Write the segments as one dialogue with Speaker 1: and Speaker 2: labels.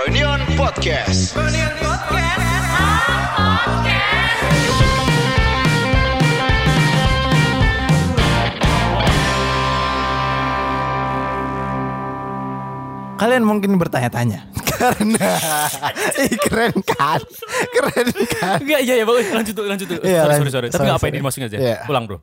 Speaker 1: Reunion Podcast.
Speaker 2: Kalian mungkin bertanya-tanya karena Ih, keren kan, keren kan.
Speaker 3: Enggak, iya ya, bagus. Lanjut dulu, lanjut dulu.
Speaker 2: Iya,
Speaker 3: sorry,
Speaker 2: lanjut.
Speaker 3: sorry, sorry. Tapi
Speaker 2: Sorry,
Speaker 3: enggak apa-apa
Speaker 2: sorry.
Speaker 3: ini masukin aja.
Speaker 2: Iya.
Speaker 3: Ulang, Bro.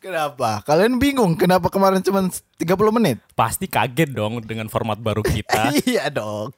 Speaker 2: Kenapa? Kalian bingung kenapa kemarin cuma 30 menit?
Speaker 3: Pasti kaget dong dengan format baru kita.
Speaker 2: iya dong.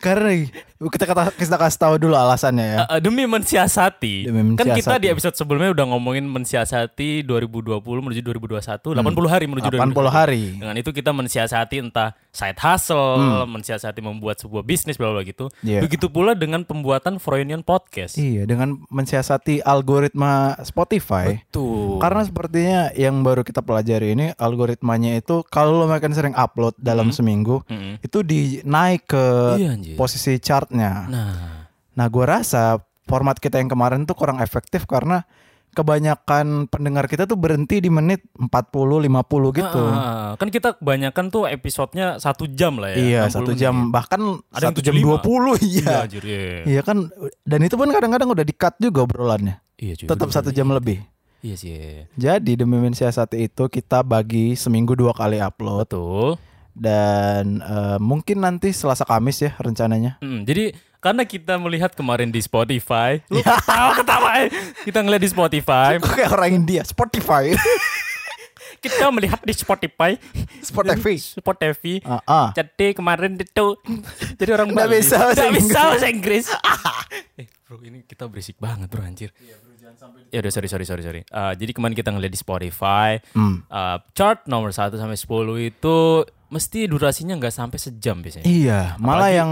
Speaker 2: Karena kita kata kita kasih tahu dulu alasannya ya.
Speaker 3: Eh, eh, demi mensiasati.
Speaker 2: Demi
Speaker 3: Kan kita
Speaker 2: mensiasati.
Speaker 3: di episode sebelumnya udah ngomongin mensiasati 2020 menuju 2021, 80 hari menuju
Speaker 2: 80
Speaker 3: Iya.
Speaker 2: Hmm. hari. Hmm.
Speaker 3: 2021. Dengan itu kita mensiasati entah side hustle, mensiasati membuat sebuah bisnis bla bla gitu.
Speaker 2: Iya.
Speaker 3: Begitu pula dengan pembuatan Froyonian Podcast.
Speaker 2: Iya, dengan mensiasati algoritma Spotify.
Speaker 3: Tuh.
Speaker 2: Karena sepertinya yang baru kita pelajari ini algoritmanya itu kalau lo makin sering upload dalam
Speaker 3: Hmm.
Speaker 2: seminggu itu di naik ke
Speaker 3: Iya, anjir.
Speaker 2: posisi chartnya.
Speaker 3: Nah,
Speaker 2: Nah, gua rasa format kita yang kemarin tuh kurang efektif karena kebanyakan pendengar kita tuh berhenti di menit 40 50 gitu.
Speaker 3: ah, kan kita kebanyakan tuh episodenya satu jam lah ya.
Speaker 2: iya,
Speaker 3: 60
Speaker 2: satu
Speaker 3: menit.
Speaker 2: jam bahkan
Speaker 3: Ada yang
Speaker 2: satu jam
Speaker 3: 75.
Speaker 2: 20
Speaker 3: Iya,
Speaker 2: iya.
Speaker 3: anjir, iya.
Speaker 2: Iya kan dan itu pun kadang-kadang udah di-cut juga obrolannya.
Speaker 3: Iya, cuy.
Speaker 2: Tetap
Speaker 3: bener.
Speaker 2: satu jam lebih.
Speaker 3: Iya sih. iya.
Speaker 2: Jadi demi mensiasati itu kita bagi seminggu dua kali upload
Speaker 3: Betul.
Speaker 2: dan eh, mungkin nanti Selasa Kamis ya rencananya.
Speaker 3: Mm, jadi karena kita melihat kemarin di Spotify, lu ketawa ketawa. eh. Kita ngeliat di Spotify,
Speaker 2: Kayak orang India, Spotify.
Speaker 3: kita melihat di Spotify,
Speaker 2: Spotify.
Speaker 3: Spotify.
Speaker 2: Ah, ah.
Speaker 3: Jadi kemarin itu jadi orang
Speaker 2: Nggak
Speaker 3: Bali.
Speaker 2: bisa bahasa
Speaker 3: Nggak
Speaker 2: Inggris.
Speaker 3: bisa
Speaker 2: Ah.
Speaker 3: bahasa Inggris. eh, bro, ini kita berisik banget, bro, anjir. Ya udah sorry sorry sorry sorry. Eh, jadi kemarin kita ngeliat di Spotify,
Speaker 2: Hmm.
Speaker 3: eh, chart nomor 1 sampai 10 itu mesti durasinya nggak sampai sejam biasanya.
Speaker 2: Iya, malah yang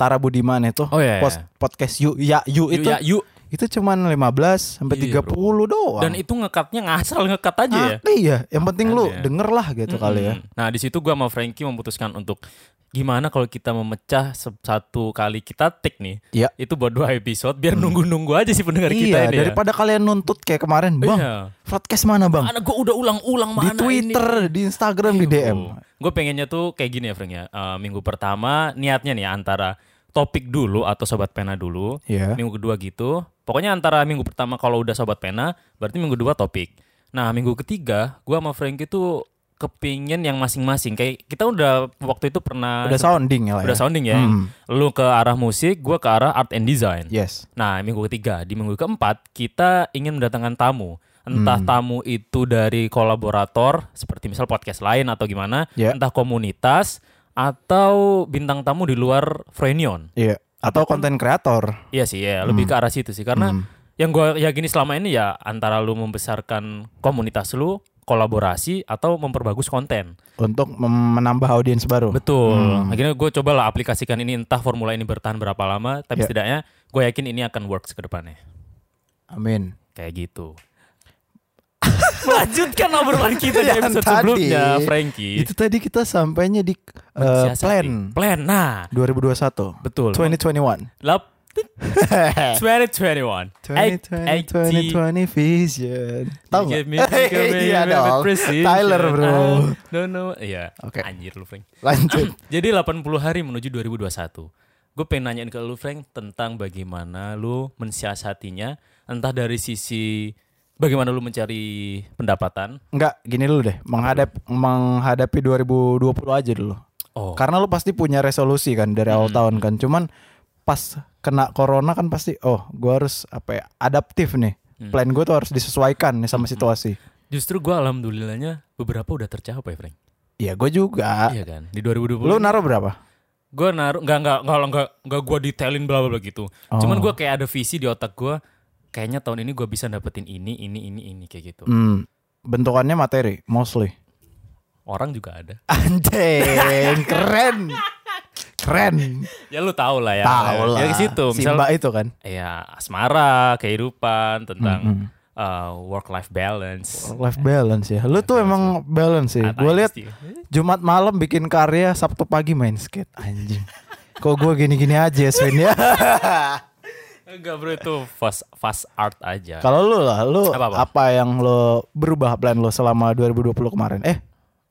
Speaker 2: Tara Budiman itu
Speaker 3: Oh, iya, iya.
Speaker 2: pos- podcast Yu Ya Yu itu
Speaker 3: Ya, yuk.
Speaker 2: itu cuman 15 sampai
Speaker 3: Iya,
Speaker 2: 30 doang.
Speaker 3: Dan itu ngekatnya ngasal ngekat aja ya.
Speaker 2: Ah, iya, yang penting lu
Speaker 3: ya.
Speaker 2: denger lah gitu kali ya.
Speaker 3: Hmm. Nah, di situ gua sama Frankie memutuskan untuk gimana kalau kita memecah se- satu kali kita take nih.
Speaker 2: Iya.
Speaker 3: Itu buat dua episode biar nunggu-nunggu aja sih pendengar kita
Speaker 2: Iya,
Speaker 3: ini. ya.
Speaker 2: daripada kalian nuntut kayak kemarin, Bang.
Speaker 3: Iya.
Speaker 2: Podcast mana, Bang?
Speaker 3: Karena gue udah ulang-ulang
Speaker 2: Di
Speaker 3: mana Iya,
Speaker 2: Twitter, di Instagram, di DM.
Speaker 3: Gue pengennya tuh kayak gini ya, Frank ya. Eh, minggu pertama niatnya nih antara topik dulu atau sobat pena dulu.
Speaker 2: Iya.
Speaker 3: Minggu kedua gitu. Pokoknya antara minggu pertama kalau udah sobat pena, berarti minggu kedua topik. Nah, minggu ketiga gua sama Frank itu kepingin yang masing-masing. Kayak kita udah waktu itu pernah
Speaker 2: Udah sounding ya lah.
Speaker 3: udah
Speaker 2: ya.
Speaker 3: sounding ya. Lu ke arah musik, gua ke arah art and design.
Speaker 2: Yes.
Speaker 3: Nah, minggu ketiga, di minggu keempat kita ingin mendatangkan tamu.
Speaker 2: Hmm.
Speaker 3: Entah tamu itu dari kolaborator seperti misal podcast lain atau gimana,
Speaker 2: Ya.
Speaker 3: entah komunitas atau bintang tamu di luar Frenion.
Speaker 2: Iya. Atau konten kreator.
Speaker 3: Iya sih, ya, lebih
Speaker 2: Hmm.
Speaker 3: ke arah situ sih karena yang gua yakini selama ini ya antara lu membesarkan komunitas lu, kolaborasi atau memperbagus konten.
Speaker 2: untuk mem- menambah audiens baru.
Speaker 3: Betul.
Speaker 2: Hmm.
Speaker 3: Akhirnya gue cobalah aplikasikan ini entah formula ini bertahan berapa lama, tapi
Speaker 2: Ya.
Speaker 3: setidaknya gue yakin ini akan works ke depannya.
Speaker 2: Amin.
Speaker 3: Kayak gitu. Melanjutkan obrolan kita di
Speaker 2: Yang
Speaker 3: episode
Speaker 2: tadi,
Speaker 3: sebelumnya, Frankie.
Speaker 2: Itu tadi kita sampainya di uh,
Speaker 3: Mensiasati.
Speaker 2: plan
Speaker 3: Plan. Nah,
Speaker 2: 2021.
Speaker 3: betul.
Speaker 2: 2021.
Speaker 3: Lap- 2021. 2020.
Speaker 2: 2020 vision. Tahu nggak? Iya dong. Tyler
Speaker 3: Tyler
Speaker 2: bro.
Speaker 3: Uh, No no. Iya.
Speaker 2: Oke.
Speaker 3: Anjir lu, Frank.
Speaker 2: Lanjut.
Speaker 3: Jadi 80 hari menuju 2021. Gue pengen nanyain ke lu Frank tentang bagaimana lu mensiasatinya entah dari sisi bagaimana lu mencari pendapatan.
Speaker 2: Enggak, gini dulu deh. Menghadap menghadapi 2020 aja dulu.
Speaker 3: Oh. Hmm.
Speaker 2: Karena lu pasti punya resolusi kan dari awal tahun kan. Cuman pas kena corona kan pasti oh, gua harus apa ya? Adaptif nih.
Speaker 3: Hmm.
Speaker 2: Plan gue tuh harus disesuaikan nih sama situasi.
Speaker 3: Justru gue alhamdulillahnya beberapa udah tercapai Frank.
Speaker 2: Iya, gue juga.
Speaker 3: Iya kan? Di 2020.
Speaker 2: Lu naruh berapa?
Speaker 3: gue naruh nggak nggak nggak nggak nggak gue detailin bla bla bla gitu.
Speaker 2: Oh.
Speaker 3: Cuman gue kayak ada visi di otak gue. Kayaknya tahun ini gue bisa dapetin ini ini ini ini kayak gitu.
Speaker 2: Hmm, bentukannya materi mostly.
Speaker 3: Orang juga ada.
Speaker 2: Anjing, keren. Keren.
Speaker 3: Ya lu tau lah ya.
Speaker 2: Tahu lah.
Speaker 3: Ya ke situ.
Speaker 2: Si
Speaker 3: Misal
Speaker 2: Mbak itu kan.
Speaker 3: ya asmara, kehidupan, tentang work life balance.
Speaker 2: Life balance ya. Lu tuh emang balance sih. Gue lihat Jumat malam bikin karya, Sabtu pagi main skate. Anjing. Kok gue gini-gini aja ya, Swin ya?
Speaker 3: Eh, enggak bro itu fast fast art aja.
Speaker 2: Kalau lu lah, lu apa,
Speaker 3: Apa-apa?
Speaker 2: yang lu berubah plan lu selama 2020 kemarin? Eh,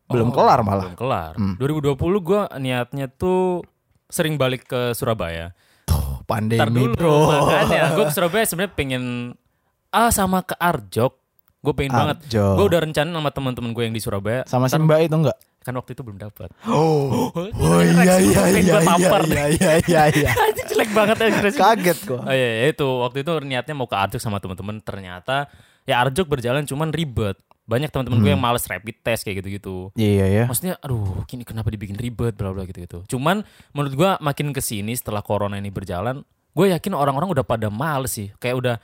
Speaker 3: Oh.
Speaker 2: belum kelar malah.
Speaker 3: Belum kelar.
Speaker 2: Mm.
Speaker 3: 2020 gua niatnya tuh sering balik ke Surabaya.
Speaker 2: Tuh, pandemi
Speaker 3: Ntar dulu
Speaker 2: bro.
Speaker 3: makanya gue ke Surabaya sebenarnya pengen ah sama ke Arjok. Gue pengen banget.
Speaker 2: Arjok.
Speaker 3: Gue udah rencana sama teman-teman gue yang di Surabaya.
Speaker 2: Sama si Mbak itu enggak?
Speaker 3: Kan waktu itu belum dapat.
Speaker 2: Oh, oh iya iya
Speaker 3: Pengen
Speaker 2: iya
Speaker 3: gua tampar.
Speaker 2: iya iya iya iya.
Speaker 3: Anjing jelek banget ya, ekspresi.
Speaker 2: Kaget gua.
Speaker 3: Oh iya, iya, itu waktu itu niatnya mau ke Arjok sama teman-teman ternyata ya Arjok berjalan cuman ribet. Banyak teman-teman gue yang males rapid test kayak gitu-gitu.
Speaker 2: Iya ya.
Speaker 3: Maksudnya aduh, kini kenapa dibikin ribet bla bla gitu-gitu. Cuman menurut gua makin ke sini setelah corona ini berjalan, gue yakin orang-orang udah pada males sih. Kayak udah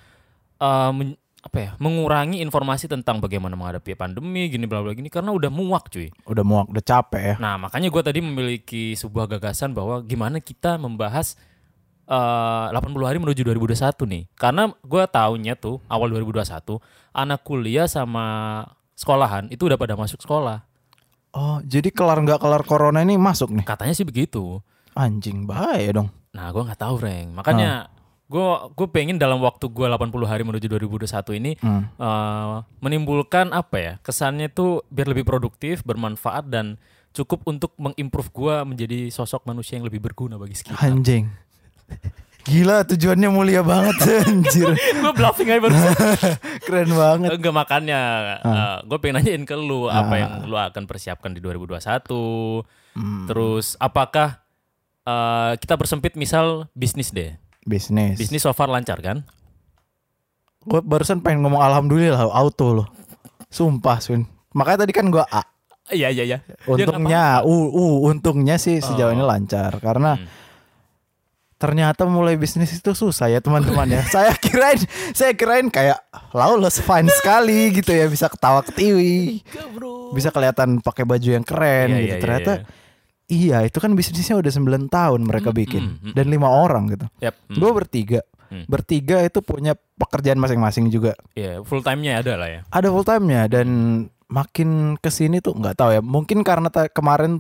Speaker 3: eh, men- apa ya, mengurangi informasi tentang bagaimana menghadapi pandemi gini bla bla gini karena udah muak cuy.
Speaker 2: Udah muak, udah capek ya.
Speaker 3: Nah, makanya gue tadi memiliki sebuah gagasan bahwa gimana kita membahas eh, 80 hari menuju 2021 nih. Karena gue taunya tuh awal 2021 anak kuliah sama sekolahan itu udah pada masuk sekolah.
Speaker 2: Oh, jadi kelar nggak kelar corona ini masuk nih.
Speaker 3: Katanya sih begitu.
Speaker 2: Anjing bahaya dong.
Speaker 3: Nah, gue nggak tahu, Reng. Makanya gue gue pengen dalam waktu gue 80 hari menuju 2021 ini eh, menimbulkan apa ya kesannya tuh biar lebih produktif, bermanfaat dan cukup untuk mengimprove gue menjadi sosok manusia yang lebih berguna bagi sekitar.
Speaker 2: Anjing. Gila tujuannya mulia banget anjir.
Speaker 3: gue bluffing aja barusan.
Speaker 2: Keren banget.
Speaker 3: Enggak makanya
Speaker 2: Ah.
Speaker 3: gue pengen nanyain ke lu apa yang lu akan persiapkan di 2021.
Speaker 2: Hmm.
Speaker 3: Terus apakah eh, kita persempit misal bisnis deh.
Speaker 2: Bisnis.
Speaker 3: Bisnis so far lancar kan?
Speaker 2: Gue barusan pengen ngomong alhamdulillah auto loh. Sumpah, Swin. Makanya tadi kan gua A.
Speaker 3: Iya iya iya. Ya, nggak Oh.
Speaker 2: Untungnya, uh, uh, untungnya sih sejauh ini lancar karena
Speaker 3: Hmm.
Speaker 2: ternyata mulai bisnis itu susah ya teman-teman ya. saya kirain, saya kirain kayak lawless fine sekali gitu ya bisa ketawa ketiwi,
Speaker 3: apa-apa, bro.
Speaker 2: bisa kelihatan pakai baju yang keren gitu.
Speaker 3: Iya, iya, Hmm,
Speaker 2: ternyata iya itu kan bisnisnya udah 9 tahun mereka bikin dan lima orang gitu.
Speaker 3: Yap. mm.
Speaker 2: Gue bertiga,
Speaker 3: Hmm.
Speaker 2: bertiga itu punya pekerjaan masing-masing juga
Speaker 3: Iya, full time-nya ada lah ya.
Speaker 2: ada full time-nya dan makin ke sini tuh nggak tahu ya. Mungkin karena ta- kemarin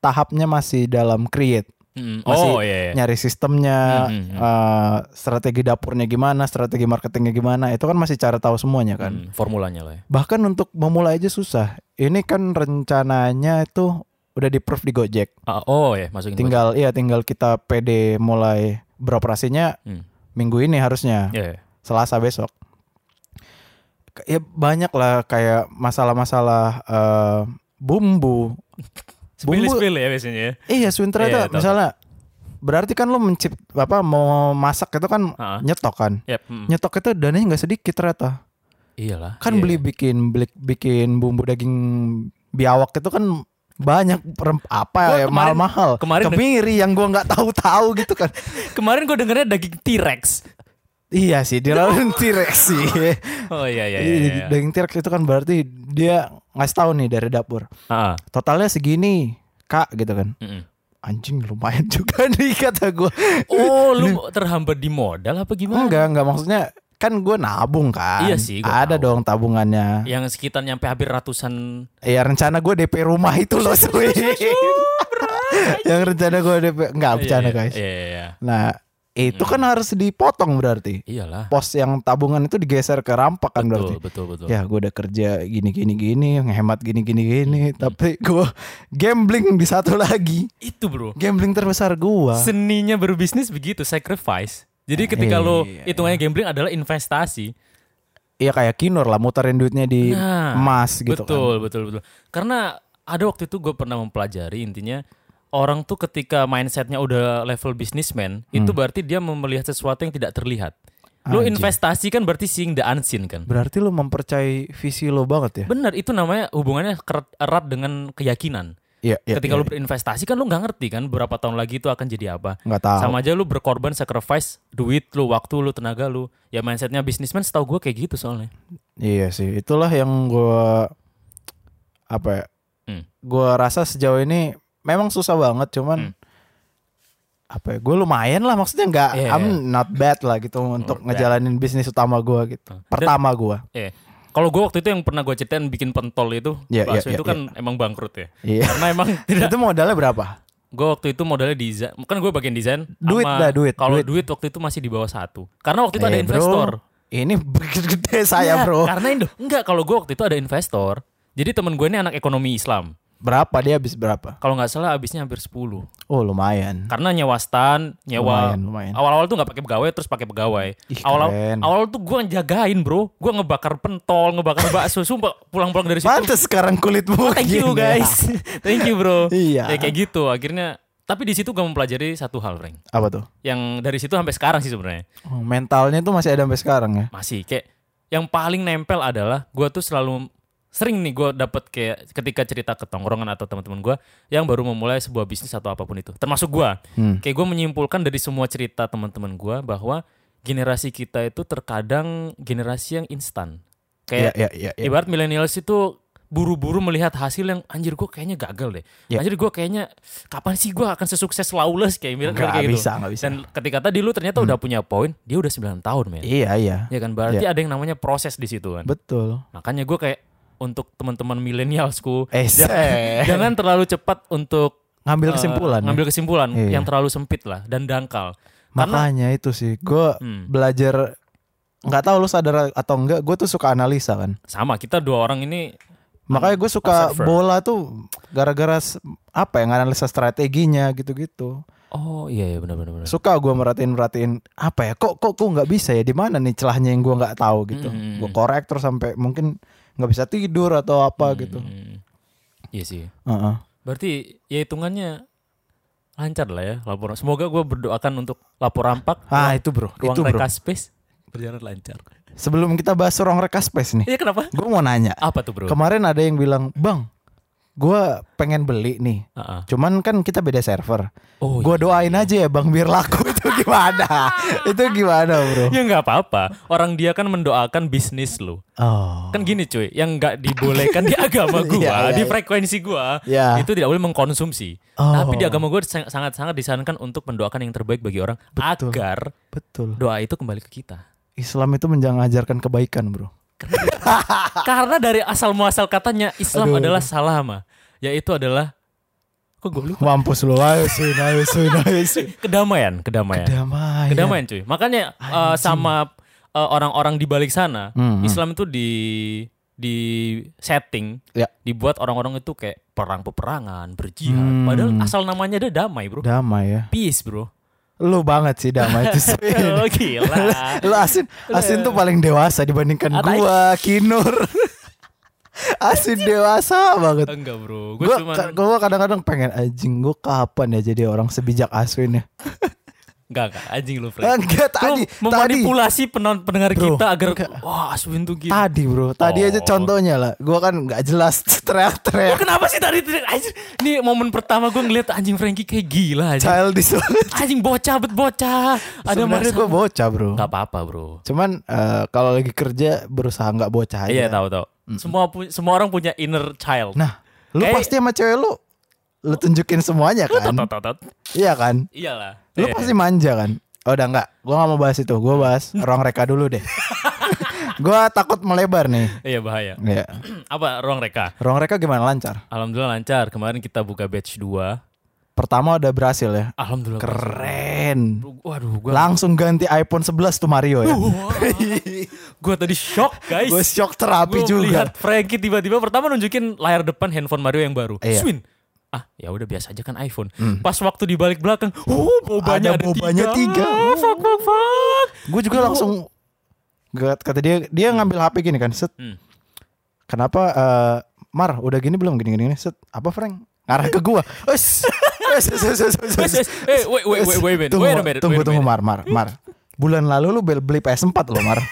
Speaker 2: tahapnya masih dalam create.
Speaker 3: Mm.
Speaker 2: Masih
Speaker 3: Oh iya. iya.
Speaker 2: Nyari sistemnya,
Speaker 3: Hmm, hmm,
Speaker 2: eh, strategi dapurnya gimana, strategi marketingnya gimana, itu kan masih cara tahu semuanya kan.
Speaker 3: Mm, formulanya lah ya.
Speaker 2: Bahkan untuk memulai aja susah. Ini kan rencananya itu udah di proof di Gojek.
Speaker 3: Ah, oh iya, masukin.
Speaker 2: Tinggal iya tinggal kita PD mulai beroperasinya
Speaker 3: buat- Mm.
Speaker 2: minggu ini harusnya.
Speaker 3: Iya, iya.
Speaker 2: Selasa besok. K- Ya banyak lah kayak masalah-masalah eh, bumbu. Bumbu
Speaker 3: Spill-spill ya biasanya ya.
Speaker 2: iya Swin ternyata
Speaker 3: Iya, tahu,
Speaker 2: misalnya berarti kan lo mencipt apa mau masak itu kan
Speaker 3: Ha-ha.
Speaker 2: nyetok kan.
Speaker 3: Yap. mm.
Speaker 2: Nyetok itu dananya nggak sedikit ternyata.
Speaker 3: Iyalah.
Speaker 2: Kan
Speaker 3: iya.
Speaker 2: beli bikin beli bikin bumbu daging biawak itu kan banyak rem-
Speaker 3: Gua
Speaker 2: apa ya
Speaker 3: kemarin-
Speaker 2: mahal-mahal
Speaker 3: kemarin-
Speaker 2: kemiri yang gua nggak tahu-tahu gitu kan
Speaker 3: Kemarin gue dengernya daging T-Rex.
Speaker 2: iya sih dia lawan T-Rex sih
Speaker 3: Oh iya iya iya.
Speaker 2: Jadi
Speaker 3: iya.
Speaker 2: daging T-Rex itu kan berarti dia ngasih tahu nih dari dapur.
Speaker 3: Ah, Hmm, ah.
Speaker 2: Totalnya segini, Kak gitu kan.
Speaker 3: Mm-mm.
Speaker 2: Anjing lumayan juga nih kata gue.
Speaker 3: Oh, lu terhambat di modal apa gimana?
Speaker 2: Enggak, enggak maksudnya kan gue nabung kan.
Speaker 3: Iya sih, gua
Speaker 2: Ada
Speaker 3: tahu.
Speaker 2: dong tabungannya.
Speaker 3: Yang sekitar nyampe hampir ratusan.
Speaker 2: Ya rencana gue DP rumah itu loh Swin. Yang rencana gue DP enggak Ah, bercanda
Speaker 3: Iya, Iya, iya,
Speaker 2: guys.
Speaker 3: Iya Hmm. iya. iya.
Speaker 2: Nah, itu kan harus dipotong berarti.
Speaker 3: Iyalah.
Speaker 2: Pos yang tabungan itu digeser ke rampak kan berarti.
Speaker 3: Betul betul betul.
Speaker 2: ya gue udah kerja gini gini gini ngehemat gini gini gini
Speaker 3: Hmm.
Speaker 2: tapi gue gambling di satu lagi
Speaker 3: Itu bro.
Speaker 2: gambling terbesar gue
Speaker 3: Seninya berbisnis begitu sacrifice. Jadi ketika lo
Speaker 2: Iya, iya.
Speaker 3: hitungannya gambling adalah investasi.
Speaker 2: ya kayak kinur lah muterin duitnya di
Speaker 3: Nah,
Speaker 2: emas gitu
Speaker 3: betul, Betul, betul, Karena ada waktu itu gue pernah mempelajari intinya orang tuh ketika mindsetnya udah level businessman itu berarti dia melihat sesuatu yang tidak terlihat. Lo
Speaker 2: Hmm. Anjing.
Speaker 3: investasi kan berarti seeing the unseen kan.
Speaker 2: kan berarti lu mempercayai visi lo banget ya
Speaker 3: Bener, itu namanya hubungannya keret- erat dengan keyakinan.
Speaker 2: Iya, iya, iya.
Speaker 3: ketika lu berinvestasi kan lu nggak ngerti kan berapa tahun lagi itu akan jadi apa.
Speaker 2: nggak tahu
Speaker 3: Sama aja lu berkorban sacrifice duit lu, waktu lu, tenaga lu. Ya mindsetnya businessman setahu gue kayak gitu soalnya.
Speaker 2: iya sih itulah yang gue apa ya
Speaker 3: Hmm.
Speaker 2: gue rasa sejauh ini memang susah banget
Speaker 3: Hmm.
Speaker 2: cuman apa ya gue lumayan lah maksudnya nggak
Speaker 3: Iya,
Speaker 2: I'm not bad lah gitu untuk ngejalanin bisnis utama gue gitu
Speaker 3: Hmm.
Speaker 2: pertama gue
Speaker 3: Iya. Kalau gue waktu itu yang pernah gue ceritain bikin pentol itu,
Speaker 2: Iya,
Speaker 3: bakso
Speaker 2: iya,
Speaker 3: itu
Speaker 2: iya,
Speaker 3: kan emang bangkrut ya.
Speaker 2: Iya.
Speaker 3: Karena emang tidak.
Speaker 2: itu modalnya berapa?
Speaker 3: Gue waktu itu modalnya desain, kan gue bagian desain.
Speaker 2: Duit
Speaker 3: sama-
Speaker 2: dah, duit,
Speaker 3: Kalau
Speaker 2: duit.
Speaker 3: duit. waktu itu masih di bawah satu. Karena waktu itu ada
Speaker 2: Eh, bro,
Speaker 3: investor.
Speaker 2: ini begitu gede saya
Speaker 3: Iya,
Speaker 2: bro.
Speaker 3: Karena itu enggak kalau gue waktu itu ada investor. Jadi temen gue ini anak ekonomi Islam.
Speaker 2: Berapa dia habis berapa?
Speaker 3: Kalau nggak salah habisnya hampir 10.
Speaker 2: Oh lumayan.
Speaker 3: Karena nyewa stand, nyewa
Speaker 2: Lumayan, lumayan.
Speaker 3: awal-awal tuh nggak pakai pegawai terus pakai pegawai.
Speaker 2: Ih,
Speaker 3: Awal
Speaker 2: keren.
Speaker 3: awal tuh gua jagain, Bro. Gua ngebakar pentol, ngebakar bakso, sumpah pulang-pulang dari situ. "Oh,
Speaker 2: Pantes sekarang kulitmu.
Speaker 3: Thank you
Speaker 2: gini. ya.
Speaker 3: guys. Thank you, Bro.
Speaker 2: Iya.
Speaker 3: Ya kayak gitu akhirnya tapi di situ gua mempelajari satu hal, Frank.
Speaker 2: Apa tuh?
Speaker 3: Yang dari situ sampai sekarang sih sebenarnya.
Speaker 2: Oh, mentalnya tuh masih ada sampai sekarang ya.
Speaker 3: masih kayak yang paling nempel adalah gue tuh selalu sering nih gue dapet kayak ketika cerita ke tongkrongan atau teman-teman gue yang baru memulai sebuah bisnis atau apapun itu termasuk gue
Speaker 2: Hmm.
Speaker 3: kayak gue menyimpulkan dari semua cerita teman-teman gue bahwa generasi kita itu terkadang generasi yang instan
Speaker 2: Iya
Speaker 3: kayak
Speaker 2: iya iya. iya.
Speaker 3: ibarat millennials itu buru-buru melihat hasil yang anjir gue kayaknya gagal deh
Speaker 2: Ya.
Speaker 3: anjir gue kayaknya kapan sih gue akan sesukses lawless kayak ibarat
Speaker 2: Nggak
Speaker 3: kayak gitu.
Speaker 2: bisa, nggak bisa.
Speaker 3: dan ketika tadi lu ternyata udah punya poin dia udah 9 tahun men
Speaker 2: Iya iya.
Speaker 3: Ya kan berarti ada yang namanya proses di situ kan.
Speaker 2: Betul.
Speaker 3: Makanya gue kayak untuk teman-teman milenialsku
Speaker 2: Eh,
Speaker 3: ja- jangan terlalu cepat untuk
Speaker 2: ngambil
Speaker 3: Iya. eh,
Speaker 2: kesimpulan.
Speaker 3: ngambil kesimpulan
Speaker 2: Iya.
Speaker 3: yang terlalu sempit lah dan dangkal. Karena
Speaker 2: Makanya itu sih. Gue
Speaker 3: Hmm.
Speaker 2: belajar nggak tahu lu sadar atau enggak, gue tuh suka analisa kan.
Speaker 3: sama kita dua orang ini
Speaker 2: Makanya gue suka
Speaker 3: Observer.
Speaker 2: bola tuh gara-gara s- apa yang analisa strateginya gitu-gitu.
Speaker 3: oh iya iya benar benar benar.
Speaker 2: Suka gue merhatiin-merhatiin apa ya kok kok gue nggak bisa ya di mana nih celahnya yang gue nggak tahu gitu.
Speaker 3: Hmm.
Speaker 2: Gue korek terus sampai mungkin nggak bisa tidur atau apa gitu.
Speaker 3: Hmm. Iya sih.
Speaker 2: Heeh.
Speaker 3: Berarti ya hitungannya lancar lah ya laporan. Semoga gue berdoakan untuk lapor rampak
Speaker 2: Ah itu bro,
Speaker 3: ruang
Speaker 2: itu bro.
Speaker 3: reka space berjalan lancar.
Speaker 2: Sebelum kita bahas ruang reka space nih,
Speaker 3: Iya kenapa?
Speaker 2: gue mau nanya.
Speaker 3: Apa tuh bro?
Speaker 2: Kemarin ada yang bilang, bang, gue pengen beli nih.
Speaker 3: Ah, ah.
Speaker 2: Cuman kan kita beda server.
Speaker 3: Oh,
Speaker 2: gue doain aja ya bang biar laku itu gimana? itu gimana bro?
Speaker 3: Ya nggak apa-apa. Orang dia kan mendoakan bisnis lo.
Speaker 2: Oh.
Speaker 3: Kan gini cuy, yang nggak dibolehkan di agama gua,
Speaker 2: Iya, iya,
Speaker 3: di
Speaker 2: iya.
Speaker 3: frekuensi gua,
Speaker 2: Iya.
Speaker 3: itu tidak boleh mengkonsumsi.
Speaker 2: Oh.
Speaker 3: Tapi di agama gua sang- sangat-sangat disarankan untuk mendoakan yang terbaik bagi orang agar
Speaker 2: Betul.
Speaker 3: doa itu kembali ke kita.
Speaker 2: Islam itu mengajarkan kebaikan, Bro.
Speaker 3: Karena dari asal muasal katanya Islam
Speaker 2: Aduh.
Speaker 3: adalah salama, yaitu adalah kok gue lupa
Speaker 2: Mampus lu. Ayo Swin, ayo Swin, ayo Swin.
Speaker 3: kedamaian, kedamaian.
Speaker 2: Kedamaian.
Speaker 3: kedamaian cuy. Makanya eh, sama eh, orang-orang di balik sana,
Speaker 2: Hmm, hmm.
Speaker 3: Islam itu di di setting
Speaker 2: Ya.
Speaker 3: dibuat orang-orang itu kayak perang peperangan, berjihad. Padahal asal namanya ada damai, Bro.
Speaker 2: Damai ya.
Speaker 3: Peace, Bro.
Speaker 2: Lu banget sih damai itu Swin.
Speaker 3: Oh, gila.
Speaker 2: lu Asin, Asin tuh paling dewasa dibandingkan
Speaker 3: Ah, tai.
Speaker 2: gua, Kinur. Asin dewasa banget.
Speaker 3: Enggak, Bro. Gue
Speaker 2: Gue
Speaker 3: cuma
Speaker 2: kadang-kadang pengen anjing gue kapan ya jadi orang sebijak Aswin ya.
Speaker 3: enggak enggak anjing lu, Frank.
Speaker 2: Enggak
Speaker 3: Lu
Speaker 2: tadi, tadi
Speaker 3: memanipulasi penon- pendengar
Speaker 2: Bro,
Speaker 3: kita agar
Speaker 2: enggak.
Speaker 3: wah, Aswin tuh gini.
Speaker 2: tadi bro, tadi aja
Speaker 3: Oh.
Speaker 2: contohnya lah. Gua kan nggak jelas
Speaker 3: Lu
Speaker 2: teriak-teriak.
Speaker 3: Ya, kenapa sih tadi tadi- anjir? Ini momen pertama gue ngeliat anjing Frankie kayak gila anjing.
Speaker 2: Childish banget.
Speaker 3: Anjing bocah bet bocah. Ada
Speaker 2: Sebenarnya gue
Speaker 3: masalah.
Speaker 2: bocah bro.
Speaker 3: Enggak apa-apa, Bro.
Speaker 2: Cuman eh, kalau lagi kerja berusaha nggak bocah aja.
Speaker 3: Iya tahu tahu. Semua pu- semua orang punya inner child.
Speaker 2: Nah, lu
Speaker 3: Kayak-
Speaker 2: pasti sama cewek lu lu tunjukin semuanya
Speaker 3: Tot,
Speaker 2: kan?
Speaker 3: tot, tot, tot.
Speaker 2: Iya kan?
Speaker 3: Iyalah.
Speaker 2: Lu
Speaker 3: Eh,
Speaker 2: pasti manja kan? Oh, udah enggak. Gua nggak mau bahas itu. Gua bahas ruang reka dulu deh. gua takut melebar nih.
Speaker 3: Iya bahaya.
Speaker 2: Iya.
Speaker 3: Apa ruang reka?
Speaker 2: Ruang reka gimana lancar?
Speaker 3: Alhamdulillah lancar. Kemarin kita buka batch 2.
Speaker 2: Pertama udah berhasil ya.
Speaker 3: Alhamdulillah.
Speaker 2: Keren.
Speaker 3: Waduh, gua
Speaker 2: Langsung ganti iPhone 11 tuh Mario ya.
Speaker 3: gua tadi shock, guys.
Speaker 2: Gue shock terapi
Speaker 3: Gua
Speaker 2: juga.
Speaker 3: melihat Frankie tiba-tiba pertama nunjukin layar depan handphone Mario yang baru.
Speaker 2: Iya. Hmm.
Speaker 3: Swin. Ah, ya udah biasa aja kan iPhone. Pas waktu di balik belakang, oh, bobanya ada,
Speaker 2: Ada bobanya tiga.
Speaker 3: Ah, fuck, fuck, fuck.
Speaker 2: Gue juga langsung Gua- kata dia dia ngambil HP gini kan. Set.
Speaker 3: Hmm.
Speaker 2: Kenapa eh, Mar udah gini belum gini gini, gini. set apa Frank ngarah ke gua. Wes. Wes, wes, wes, wes, wes,
Speaker 3: Wes,
Speaker 2: wes.
Speaker 3: wes. Eh, wait, wait, wait, wait a minute,
Speaker 2: Tunggu,
Speaker 3: wait a minute,
Speaker 2: Tunggu
Speaker 3: wait a
Speaker 2: tunggu
Speaker 3: minute.
Speaker 2: Mar Mar Mar. Bulan lalu lu beli beli PS4 lo Mar.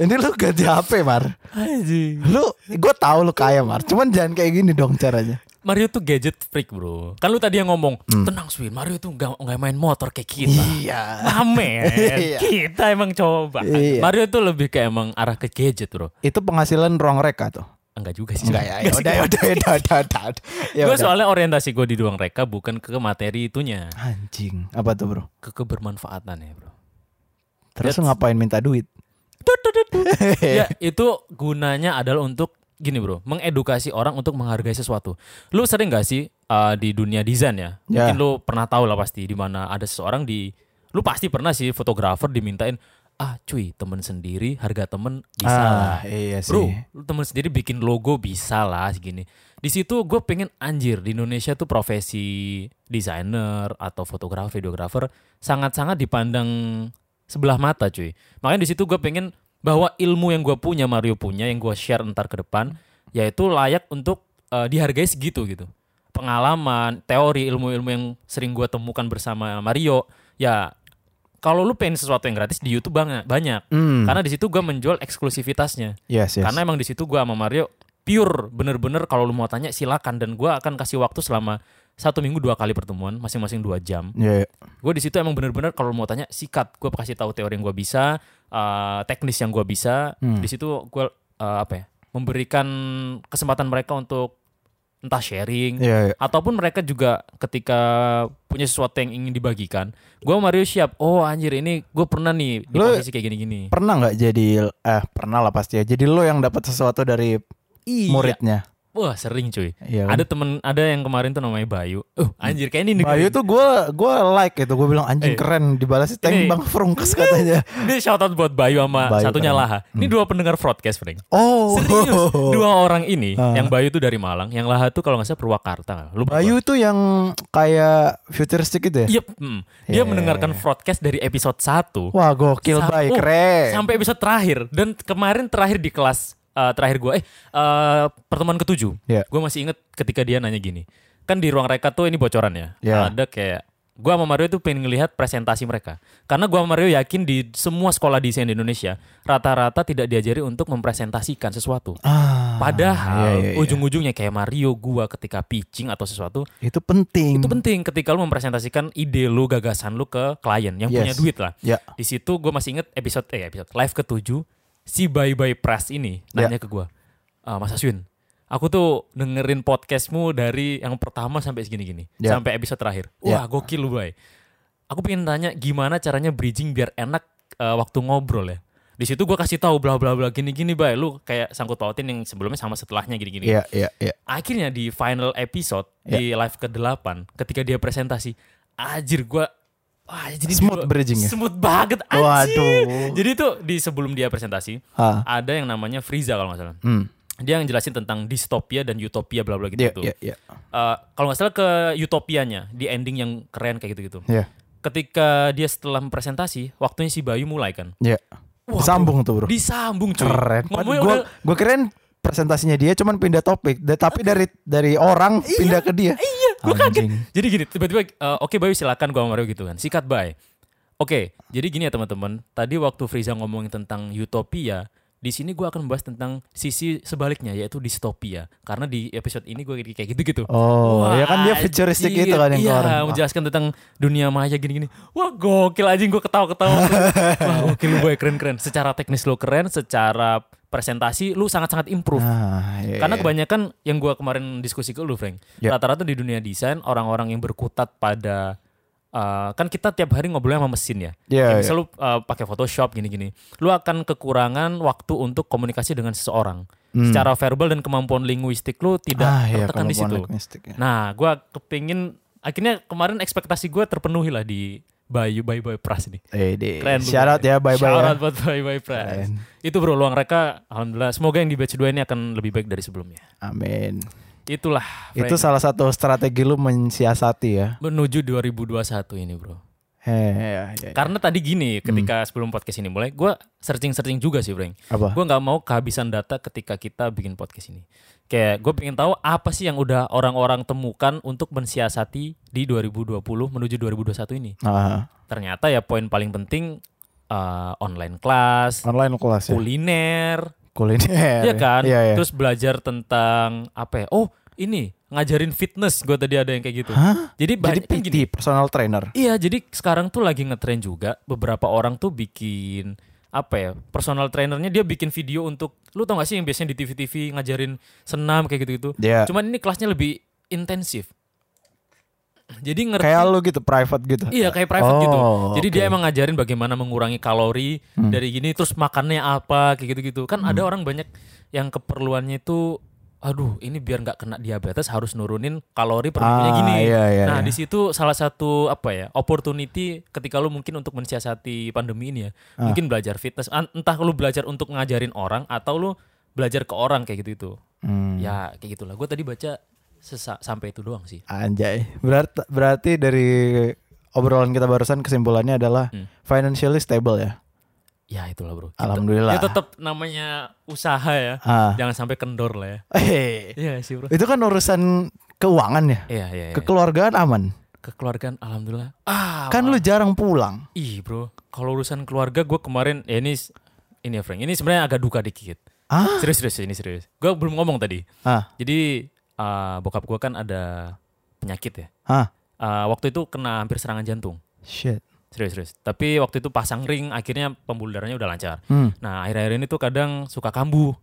Speaker 2: Ini lu ganti HP Mar.
Speaker 3: Anjing.
Speaker 2: Lu gua tahu lu kaya Mar. Cuman jangan kayak gini dong caranya.
Speaker 3: Mario tuh gadget freak bro Kan lu tadi yang ngomong Tenang Swin Mario tuh gak, gak main motor kayak
Speaker 2: Hmm.
Speaker 3: kita
Speaker 2: Iya.
Speaker 3: Amin
Speaker 2: Iya.
Speaker 3: Kita emang coba
Speaker 2: Iya.
Speaker 3: Mario tuh lebih ke emang arah ke gadget bro
Speaker 2: Itu penghasilan ruang reka tuh.
Speaker 3: Enggak juga sih
Speaker 2: Enggak ya. ya udah, ya udah, ya udah, ya udah, ya udah. Ya
Speaker 3: Gue
Speaker 2: udah.
Speaker 3: soalnya orientasi gue di ruang reka Bukan ke materi itunya
Speaker 2: Anjing. Apa tuh, Bro?
Speaker 3: Ke kebermanfaatan ya bro
Speaker 2: Terus lu ngapain minta duit?
Speaker 3: Tut, tut, tut, tut. Ya itu gunanya adalah untuk Gini bro Mengedukasi orang untuk menghargai sesuatu Lu sering gak sih uh, Di dunia desain ya
Speaker 2: Ya.
Speaker 3: Mungkin lu pernah tahu lah pasti di mana ada seseorang di Lu pasti pernah sih fotografer dimintain ah cuy temen sendiri harga temen bisa
Speaker 2: Ah,
Speaker 3: lah
Speaker 2: iya sih.
Speaker 3: bro lu temen sendiri bikin logo bisa lah segini di situ gue pengen anjir di Indonesia tuh profesi desainer atau fotografer videografer sangat-sangat dipandang sebelah mata cuy makanya di situ gue pengen bahwa ilmu yang gue punya Mario punya yang gue share ntar ke depan yaitu layak untuk eh, dihargai segitu gitu pengalaman teori ilmu-ilmu yang sering gue temukan bersama Mario ya kalau lu pengen sesuatu yang gratis di YouTube banyak banyak
Speaker 2: Hmm. iya
Speaker 3: karena di situ gue menjual eksklusivitasnya
Speaker 2: Yes, yes.
Speaker 3: kan- karena emang di situ gua sama Mario pure bener-bener kalau lu mau tanya silakan dan gua akan kasih waktu selama satu minggu dua kali pertemuan masing-masing dua jam.
Speaker 2: Iya, iya.
Speaker 3: Gue di situ emang bener-bener kalau lu mau tanya sikat, gue kasih tahu teori yang gue bisa, eh, teknis yang gue bisa. Di situ gue apa ya memberikan kesempatan mereka untuk entah sharing
Speaker 2: Iya, iya.
Speaker 3: ataupun mereka juga ketika punya sesuatu yang ingin dibagikan. Gue Mario siap. Oh anjir ini gue pernah nih di
Speaker 2: Lu-
Speaker 3: posisi kayak gini-gini.
Speaker 2: Pernah nggak jadi eh pernah lah pasti ya. Jadi lo yang dapat sesuatu dari
Speaker 3: Iya.
Speaker 2: muridnya.
Speaker 3: Wah sering cuy.
Speaker 2: Iya. kan? Hmm.
Speaker 3: Ada temen, ada yang kemarin tuh namanya Bayu. Uh, anjir kayak ini
Speaker 2: Bayu tuh gue gue like itu gue bilang anjing
Speaker 3: Eh.
Speaker 2: keren dibalas tank
Speaker 3: Ini-
Speaker 2: Bang Frungkes katanya.
Speaker 3: Ini shout out buat Bayu sama
Speaker 2: Bayu,
Speaker 3: satunya
Speaker 2: kan.
Speaker 3: Laha. Ini dua pendengar broadcast, Frank.
Speaker 2: Oh. Ah.
Speaker 3: Serius, dua orang ini, yang Bayu tuh dari Malang, yang Laha tuh kalau nggak salah Purwakarta. nggak? Lupa gua.
Speaker 2: Bayu tuh yang kayak futuristik gitu ya.
Speaker 3: Yep, mm. Dia mendengarkan broadcast dari episode 1
Speaker 2: Wah gokil Bay
Speaker 3: oh,
Speaker 2: keren.
Speaker 3: Sampai episode terakhir dan kemarin terakhir di kelas eh, terakhir gue eh eh, pertemuan ketujuh.
Speaker 2: Iya.
Speaker 3: Gue masih inget ketika dia nanya gini. Kan di ruang reka tuh ini bocoran ya.
Speaker 2: Iya.
Speaker 3: Ada kayak gue sama Mario tuh pengen ngelihat presentasi mereka. Karena gue sama Mario yakin di semua sekolah desain di Indonesia rata-rata tidak diajari untuk mempresentasikan sesuatu.
Speaker 2: Ah,
Speaker 3: Padahal
Speaker 2: iya, iya, iya.
Speaker 3: ujung-ujungnya kayak Mario gua ketika pitching atau sesuatu
Speaker 2: itu penting.
Speaker 3: itu penting ketika lu mempresentasikan ide lu, gagasan lu ke klien yang
Speaker 2: Yes.
Speaker 3: punya duit lah.
Speaker 2: Ya.
Speaker 3: Di situ gue masih inget episode eh episode live ke-7 si Bye Bye Press ini
Speaker 2: Ya.
Speaker 3: nanya ke gue, "Ah, Mas Aswin, aku tuh dengerin podcastmu dari yang pertama sampai segini-gini,
Speaker 2: Ya.
Speaker 3: sampai episode terakhir.
Speaker 2: Ya.
Speaker 3: Wah gokil lu Bay. Aku pengen tanya gimana caranya bridging biar enak eh, waktu ngobrol ya. Di situ gue kasih tahu bla bla bla gini-gini Bay, lu kayak sangkut pautin yang sebelumnya sama setelahnya gini-gini
Speaker 2: Iya iya iya.
Speaker 3: akhirnya di final episode
Speaker 2: Ya.
Speaker 3: di live ke-8 ketika dia presentasi anjir gua wah jadi
Speaker 2: Smooth
Speaker 3: dua-
Speaker 2: bridging-nya.
Speaker 3: smooth banget anjir
Speaker 2: Waduh.
Speaker 3: jadi tuh di sebelum dia presentasi
Speaker 2: Ah.
Speaker 3: ada yang namanya Friza kalau nggak salah
Speaker 2: Hmm.
Speaker 3: dia yang jelasin tentang distopia dan utopia bla bla
Speaker 2: Iya
Speaker 3: gitu gitu
Speaker 2: iya iya.
Speaker 3: Eh, kalau nggak salah ke utopianya di ending yang keren kayak gitu gitu
Speaker 2: Iya.
Speaker 3: ketika dia setelah presentasi waktunya si Bayu mulai kan
Speaker 2: Iya.
Speaker 3: Wah,
Speaker 2: Sambung tuh bro.
Speaker 3: disambung cuy
Speaker 2: Keren.
Speaker 3: Ngomongnya
Speaker 2: Gue
Speaker 3: udah-
Speaker 2: gue keren presentasinya dia cuman pindah topik. Da- tapi dari dari orang pindah ke dia.
Speaker 3: Iya, gue kaget.
Speaker 2: Anjing.
Speaker 3: Jadi gini, tiba-tiba, eh, oke Bayu silakan gue sama Mario gitu kan. Sikat Bay. Oke, jadi gini ya teman-teman. Tadi waktu Friza ngomongin tentang utopia, di sini gue akan membahas tentang sisi sebaliknya yaitu distopia. Karena di episode ini gue kayak gitu-gitu.
Speaker 2: Oh, ya kan dia futuristic
Speaker 3: anjir.
Speaker 2: gitu kan yang ke
Speaker 3: Iya,
Speaker 2: orang.
Speaker 3: menjelaskan tentang dunia maya gini-gini. Wah, gokil anjing gue ketawa-ketawa. Wah, gokil lu Bay, keren-keren. Secara teknis lo keren, secara presentasi lu sangat-sangat improve.
Speaker 2: Ah, iya,
Speaker 3: Karena
Speaker 2: iya.
Speaker 3: kebanyakan yang gua kemarin diskusi ke lu, Frank.
Speaker 2: Ya.
Speaker 3: Rata-rata di dunia desain orang-orang yang berkutat pada eh, kan kita tiap hari ngobrolnya sama mesin ya.
Speaker 2: Iya,
Speaker 3: Kayak
Speaker 2: iya.
Speaker 3: misal lu eh, pakai Photoshop gini-gini. Lu akan kekurangan waktu untuk komunikasi dengan seseorang. Secara verbal dan kemampuan linguistik lu tidak
Speaker 2: Hmm. ah, iya,
Speaker 3: tertekan
Speaker 2: kemampuan
Speaker 3: di situ.
Speaker 2: linguistik ya.
Speaker 3: Nah, gua kepingin akhirnya kemarin ekspektasi gua terpenuhi lah di Bayu Bayu Bayu Pras ini.
Speaker 2: Eh, di-
Speaker 3: Keren lu,
Speaker 2: Shout out
Speaker 3: Bay.
Speaker 2: ya, bye bye.
Speaker 3: Shout
Speaker 2: ya.
Speaker 3: out buat Bye Bye Pras.
Speaker 2: Keren.
Speaker 3: Itu bro, luang mereka alhamdulillah semoga yang di batch 2 ini akan lebih baik dari sebelumnya.
Speaker 2: Amin.
Speaker 3: Itulah Frank,
Speaker 2: Itu salah satu strategi lu mensiasati ya.
Speaker 3: menuju 2021 ini, Bro.
Speaker 2: Heh, iya, iya, iya.
Speaker 3: Karena tadi gini, ketika sebelum podcast ini mulai, gua searching-searching juga sih, Frank.
Speaker 2: Apa?
Speaker 3: Gue nggak mau kehabisan data ketika kita bikin podcast ini. Kayak gue pengen tahu apa sih yang udah orang-orang temukan untuk mensiasati di 2020 menuju 2021 ini.
Speaker 2: Ah,
Speaker 3: Ternyata ya poin paling penting eh, online class,
Speaker 2: online kelas ya.
Speaker 3: kuliner,
Speaker 2: Kuliner.
Speaker 3: Iya kan?
Speaker 2: Iya, iya.
Speaker 3: Terus belajar tentang apa ya? Oh, ini ngajarin fitness gue tadi ada yang kayak gitu.
Speaker 2: Hah? Jadi
Speaker 3: Jadi banyak kan
Speaker 2: PT,
Speaker 3: gini.
Speaker 2: personal trainer.
Speaker 3: Iya, jadi sekarang tuh lagi ngetren juga beberapa orang tuh bikin apa ya? Personal trainernya dia bikin video untuk lu tau gak sih yang biasanya di TV-TV ngajarin senam kayak gitu-gitu.
Speaker 2: Iya.
Speaker 3: Cuman ini kelasnya lebih intensif. Jadi ngerti
Speaker 2: Kayak lu gitu, private gitu.
Speaker 3: Iya kayak private
Speaker 2: Oh,
Speaker 3: gitu. Jadi
Speaker 2: oke. Hmm.
Speaker 3: dia emang ngajarin bagaimana mengurangi kalori dari gini terus makannya apa kayak gitu-gitu. Kan ada orang banyak yang keperluannya itu aduh ini biar nggak kena diabetes harus nurunin kalori per minggunya
Speaker 2: Ah,
Speaker 3: gini.
Speaker 2: iya, iya,
Speaker 3: nah
Speaker 2: iya.
Speaker 3: di situ salah satu apa ya opportunity ketika lu mungkin untuk mensiasati pandemi ini ya,
Speaker 2: Ah.
Speaker 3: mungkin belajar fitness. An- Entah lu belajar untuk ngajarin orang atau lu belajar ke orang kayak gitu itu.
Speaker 2: Hmm.
Speaker 3: Ya kayak gitulah. Gue tadi baca sesa- sampai itu doang sih.
Speaker 2: Anjay. Berarti berarti dari obrolan kita barusan kesimpulannya adalah
Speaker 3: Hmm.
Speaker 2: financially stable ya.
Speaker 3: Ya itulah
Speaker 2: Ah,
Speaker 3: bro.
Speaker 2: Alhamdulillah.
Speaker 3: Ya tetap namanya usaha ya.
Speaker 2: Ah.
Speaker 3: Jangan sampai kendor lah ya.
Speaker 2: Hei.
Speaker 3: Iya sih bro.
Speaker 2: Itu kan urusan keuangan ya.
Speaker 3: Iya iya. iya.
Speaker 2: Kekeluargaan aman.
Speaker 3: Kekeluargaan alhamdulillah. Ah.
Speaker 2: Kan lu jarang pulang.
Speaker 3: Ih bro, kalau urusan keluarga gue kemarin ya ini ini ya Frank, ini sebenarnya agak duka dikit.
Speaker 2: Ah?
Speaker 3: Serius serius ini serius. Gue belum ngomong tadi.
Speaker 2: Ah,
Speaker 3: Jadi eh, bokap gue kan ada penyakit ya.
Speaker 2: ah.
Speaker 3: Eh, waktu itu kena hampir serangan jantung.
Speaker 2: Shit.
Speaker 3: Serius serius. Tapi waktu itu pasang ring, akhirnya pembuluh darahnya udah lancar.
Speaker 2: Hmm.
Speaker 3: Nah akhir-akhir ini tuh kadang suka kambuh.